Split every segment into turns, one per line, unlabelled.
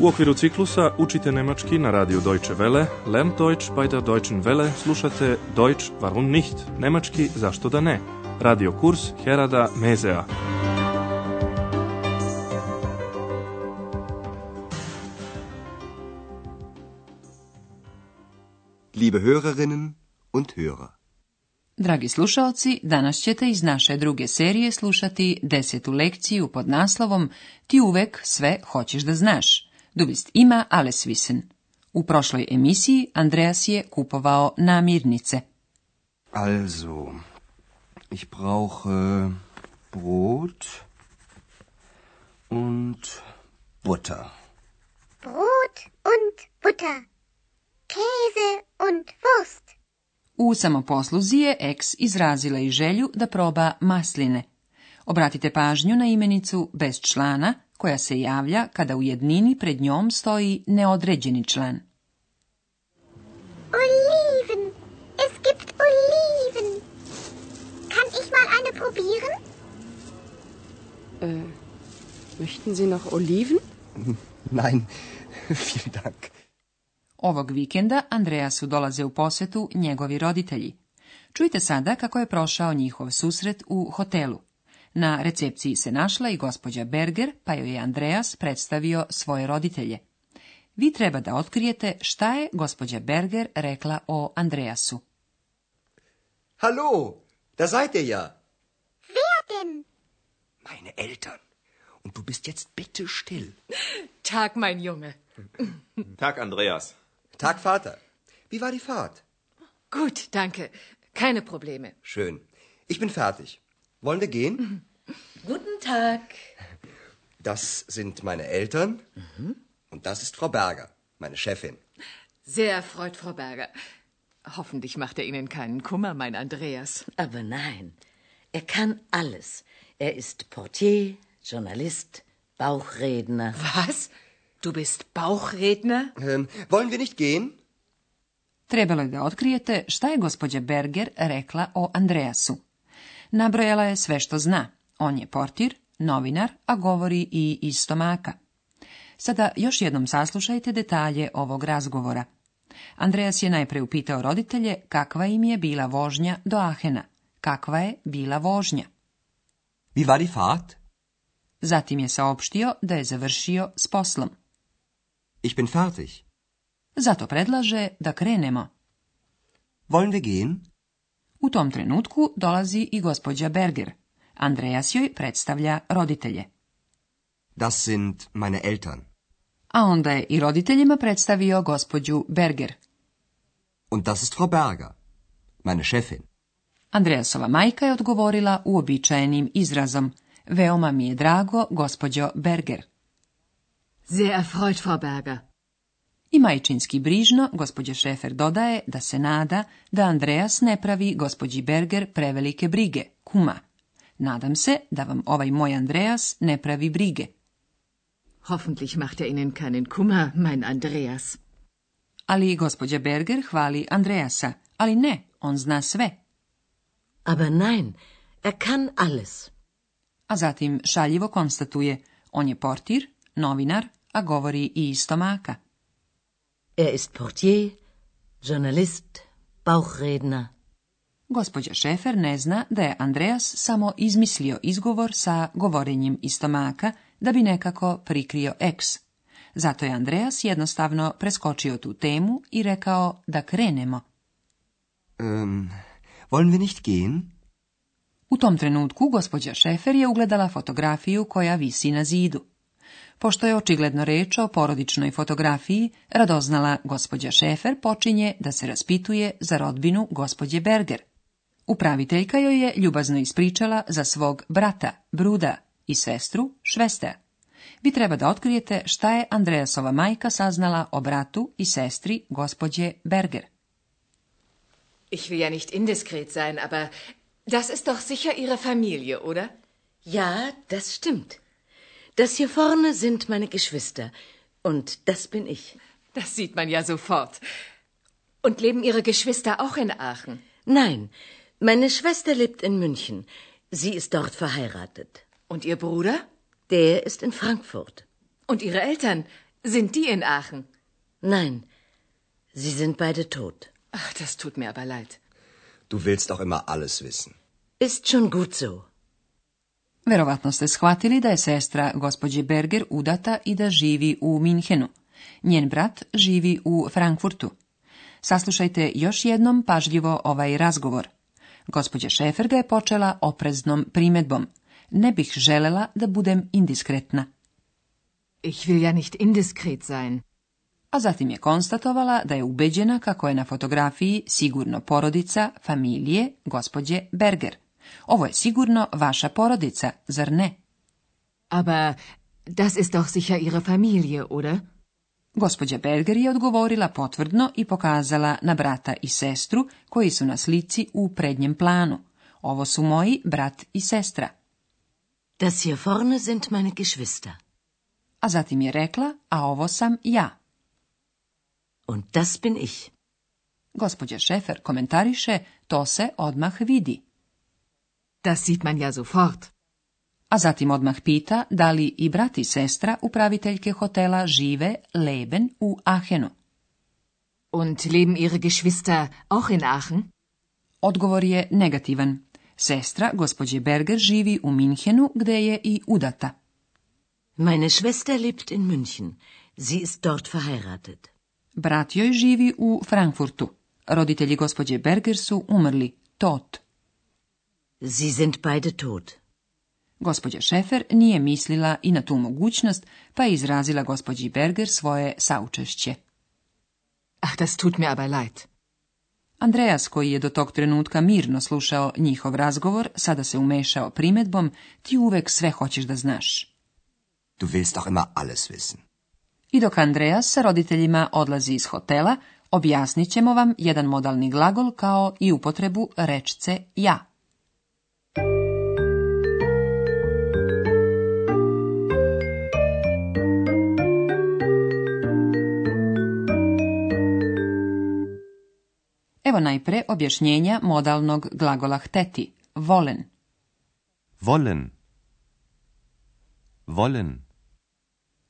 U okviru ciklusa učite nemački na radiju Deutsche Welle, lernt Deutsch bei der Deutschen Welle, slušate Deutsch warum nicht, nemački zašto da ne, radio kurs Herada Mezea.
Liebe Hörerinnen und Hörer,
Dragi slušaoci, danas ćete iz naše druge serije slušati desetu lekciju pod naslovom Ti uvek sve hoćeš da znaš. Du bist ima alles wissen. U prošloj emisiji Andreas je kupovao namirnice.
also, ich brauche Brot und Butter.
Brot und Butter, Käse und Wurst,
U samoposluzi je Ex izrazila i želju da proba masline. Obratite pažnju na imenicu bez člana koja se javlja kada u jednini pred njom stoji neodređeni član.
Oliven. Es gibt Oliven. Kann ich mal eine probieren?
Möchten Sie noch Oliven?
Nein, vielen Dank.
Ovog vikenda Andreasu dolaze u posetu njegovi roditelji. Čujte sada kako je prošao njihov susret u hotelu. Na recepciji se našla i gospođa Berger, pa joj je Andreas predstavio svoje roditelje. Vi treba da otkrijete šta je gospođa Berger rekla o Andreasu.
Hallo, da seid ihr ja.
Wer denn?
Meine Eltern. Und du bist jetzt bitte still.
Tag, mein Junge.
Tag, Andreas.
Tag, Vater. Wie war die Fahrt?
Gut, danke. Keine Probleme.
Schön. Ich bin fertig. Wollen wir gehen?
Guten Tag.
Das sind meine Eltern. Und das ist Frau Berger, meine Chefin.
Sehr erfreut, Frau Berger. Hoffentlich macht er Ihnen keinen Kummer, mein Andreas.
Aber nein, er kann alles. Er ist Portier, Journalist, Bauchredner.
Was? Du bist Bauchredner?
Ähm, wollen wir nicht gehen?
Trebalo je da otkrijete šta je gospođa Berger rekla o Andreasu. Nabrojala je sve što zna. On je portir, novinar, a govori i iz stomaka. Sada još jednom saslušajte detalje ovog razgovora. Andreas je najprej upitao roditelje kakva im je bila vožnja do Ahena. Kakva je bila vožnja?
Wie war die Fahrt?
Zatim je saopštio da je završio s poslom.
Ich bin fertig.
Zato predlaže da krenemo.
Wollen wir gehen?
U tom trenutku dolazi i gospođa Berger. Andreas joj predstavlja roditelje.
Das sind meine Eltern.
A onda je i roditeljima predstavio gospođu Berger.
Und das ist Frau Berger, meine Chefin.
Andreasova majka je odgovorila uobičajenim izrazom. Veoma mi je drago, gospođo Berger.
Sehr erfreut, Frau Berger.
I majčinski brižno, gospođa Šefer dodaje da se nada da Andreas ne pravi gospođi Berger prevelike brige, kuma. Nadam se da vam ovaj moj Andreas ne pravi brige.
Hoffentlich macht er Ihnen keinen Kummer, mein Andreas.
Ali i gospođa Berger hvali Andreasa, ali ne, on zna sve.
Aber nein, er kann alles.
A zatim šaljivo konstatuje, on je portir, novinar, a govori i iz stomaka.
Er ist Portier, Journalist, Bauchredner.
Gospođa Šefer ne zna da je Andreas samo izmislio izgovor sa govorenjem iz stomaka da bi nekako prikrio eks. Zato je Andreas jednostavno preskočio tu temu i rekao da krenemo.
Ähm, wollen wir nicht gehen?
U tom trenutku gospođa Šefer je ugledala fotografiju koja visi na zidu. Pošto je očigledno reč o porodičnoj fotografiji, radoznala gospođa Šefer počinje da se raspituje za rodbinu gospođe Berger. Upraviteljka joj je ljubazno ispričala za svog brata, Bruda, i sestru, Švester. Vi treba da otkrijete šta je Andreasova majka saznala o bratu i sestri gospođe Berger.
Ich will ja nicht indiskret sein, aber das ist doch sicher Ihre Familie, oder?
Ja, das stimmt. Das hier vorne sind meine Geschwister. Und das bin ich.
Das sieht man ja sofort. Und leben Ihre Geschwister auch in Aachen?
Nein, meine Schwester lebt in München. Sie ist dort verheiratet.
Und Ihr Bruder?
Der ist in Frankfurt.
Und Ihre Eltern? Sind die in Aachen?
Nein, sie sind beide tot.
Ach, das tut mir aber leid.
Du willst doch immer alles wissen.
Ist schon gut so.
Verovatno ste shvatili da je sestra gospođe Berger udata i da živi u Minhenu. Njen brat živi u Frankfurtu. Saslušajte još jednom pažljivo ovaj razgovor. Gospođa Šefer ga je počela opreznom primedbom. Ne bih želela da budem indiskretna.
Ich will ja nicht indiskret sein.
A zatim je konstatovala da je ubeđena kako je na fotografiji sigurno porodica familije gospođe Berger. Ovo je sigurno vaša porodica, zar ne?
Aber das ist doch sicher Ihre Familie, oder?
Gospođa Berger je odgovorila potvrdno i pokazala na brata i sestru koji su na slici u prednjem planu. Ovo su moji brat i sestra.
Das hier vorne sind meine Geschwister.
A zatim je rekla, a ovo sam ja.
Und das bin ich.
Gospođa Šefer komentariše, to se odmah vidi.
Das sieht man ja sofort.
A zatim odmah pita da li i brat i sestra upraviteljke hotela žive leben u Ahenu.
Und leben Ihre Geschwister auch in Aachen?
Odgovor je negativan. Sestra gospođe Berger živi u Minhenu gde je i udata.
Meine Schwester lebt in München. Sie ist dort verheiratet.
Brat joj živi u Frankfurtu. Roditelji gospođe Berger su umrli, tot.
Sie sind beide tot.
Gospođa Šefer nije mislila i na tu mogućnost, pa je izrazila gospođi Berger svoje saučešće.
Ach, das tut mir aber leid.
Andreas, koji je do tog trenutka mirno slušao njihov razgovor, sada se umešao primetbom, ti uvek sve hoćeš da znaš.
Du willst doch immer alles wissen.
I dok Andreas sa roditeljima odlazi iz hotela, objasnit ćemo vam jedan modalni glagol kao i upotrebu rečce ja. Evo najpre objašnjenja modalnog glagola hteti, volen.
Wollen. Wollen.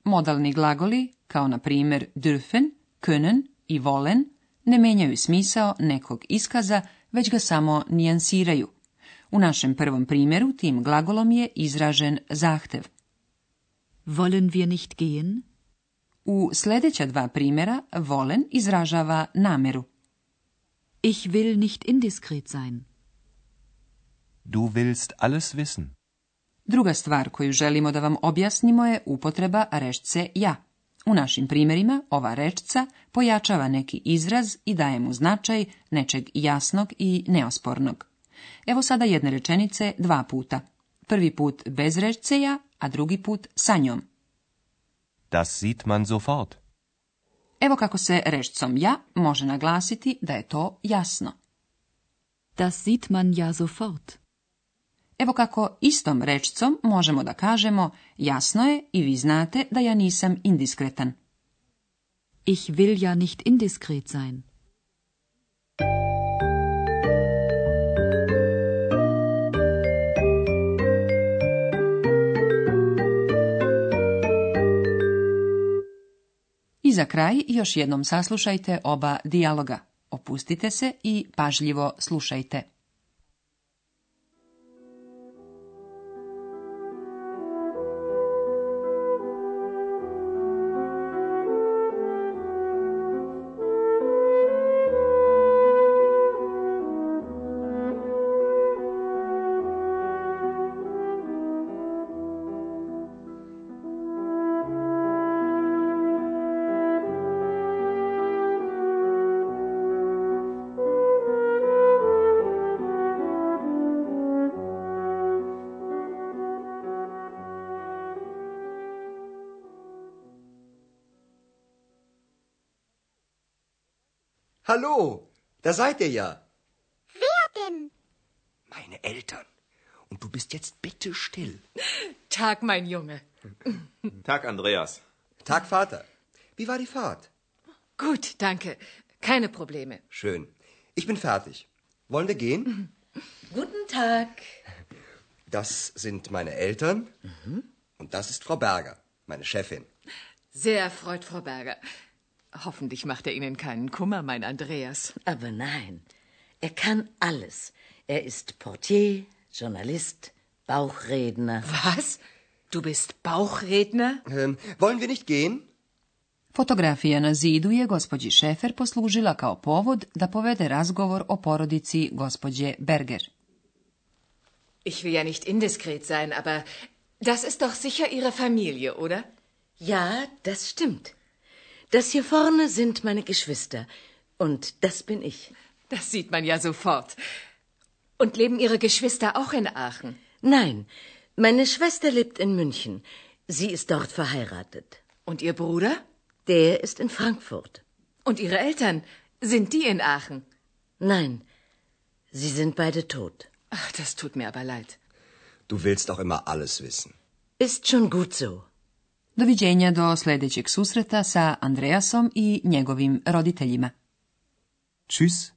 Modalni glagoli, kao na primjer dürfen, können i volen, ne menjaju smisao nekog iskaza, već ga samo nijansiraju. U našem prvom primjeru tim glagolom je izražen zahtev.
Wollen wir nicht gehen?
U sljedeća dva primjera volen izražava nameru.
Ich will nicht indiskret sein.
Du willst alles wissen.
Druga stvar koju želimo da vam objasnimo je upotreba rečce ja. U našim primjerima ova rečca pojačava neki izraz i daje mu značaj nečeg jasnog i neospornog. Evo sada jedne rečenice dva puta. Prvi put bez rečce ja, a drugi put sa njom.
Das sieht man sofort.
Evo kako se rečcom ja može naglasiti da je to jasno.
Das sieht man ja sofort.
Evo kako istom rečcom možemo da kažemo jasno je i vi znate da ja nisam indiskretan.
Ich will ja nicht indiskret sein.
I za kraj još jednom saslušajte oba dijaloga. Opustite se i pažljivo slušajte.
Hallo, da seid ihr ja.
Wer denn?
Meine Eltern. Und du bist jetzt bitte still.
Tag, mein Junge.
Tag, Andreas.
Tag, Vater. Wie war die Fahrt?
Gut, danke. Keine Probleme.
Schön. Ich bin fertig. Wollen wir gehen?
Guten Tag.
Mhm. Das sind meine Eltern. Und das ist Frau Berger, meine Chefin.
Sehr erfreut, Frau Berger. Hoffentlich macht er Ihnen keinen Kummer, mein Andreas.
Aber nein, er kann alles. Er ist Portier, Journalist, Bauchredner.
Was? Du bist Bauchredner?
Ähm, wollen wir nicht gehen?
Fotografija na zidu je gospođi Šefer poslužila kao povod da povede razgovor o porodici gospođe Berger.
Ich will ja nicht indiskret sein, aber das ist doch sicher Ihre Familie, oder?
Ja, das stimmt. Das hier vorne sind meine Geschwister. Und das bin ich.
Das sieht man ja sofort. Und leben Ihre Geschwister auch in Aachen?
Nein, meine Schwester lebt in München. Sie ist dort verheiratet.
Und Ihr Bruder?
Der ist in Frankfurt.
Und Ihre Eltern? Sind die in Aachen?
Nein, sie sind beide tot.
Ach, das tut mir aber leid.
Du willst auch immer alles wissen.
Ist schon gut so.
Doviđenja do sljedećeg susreta sa Andreasom i njegovim roditeljima.
Tschüss.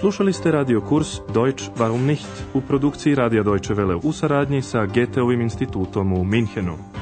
Slušali ste radio kurs Deutsch warum nicht u produkciji Radija Deutsche Welle u saradnji sa Goetheovim institutom u Minhenu.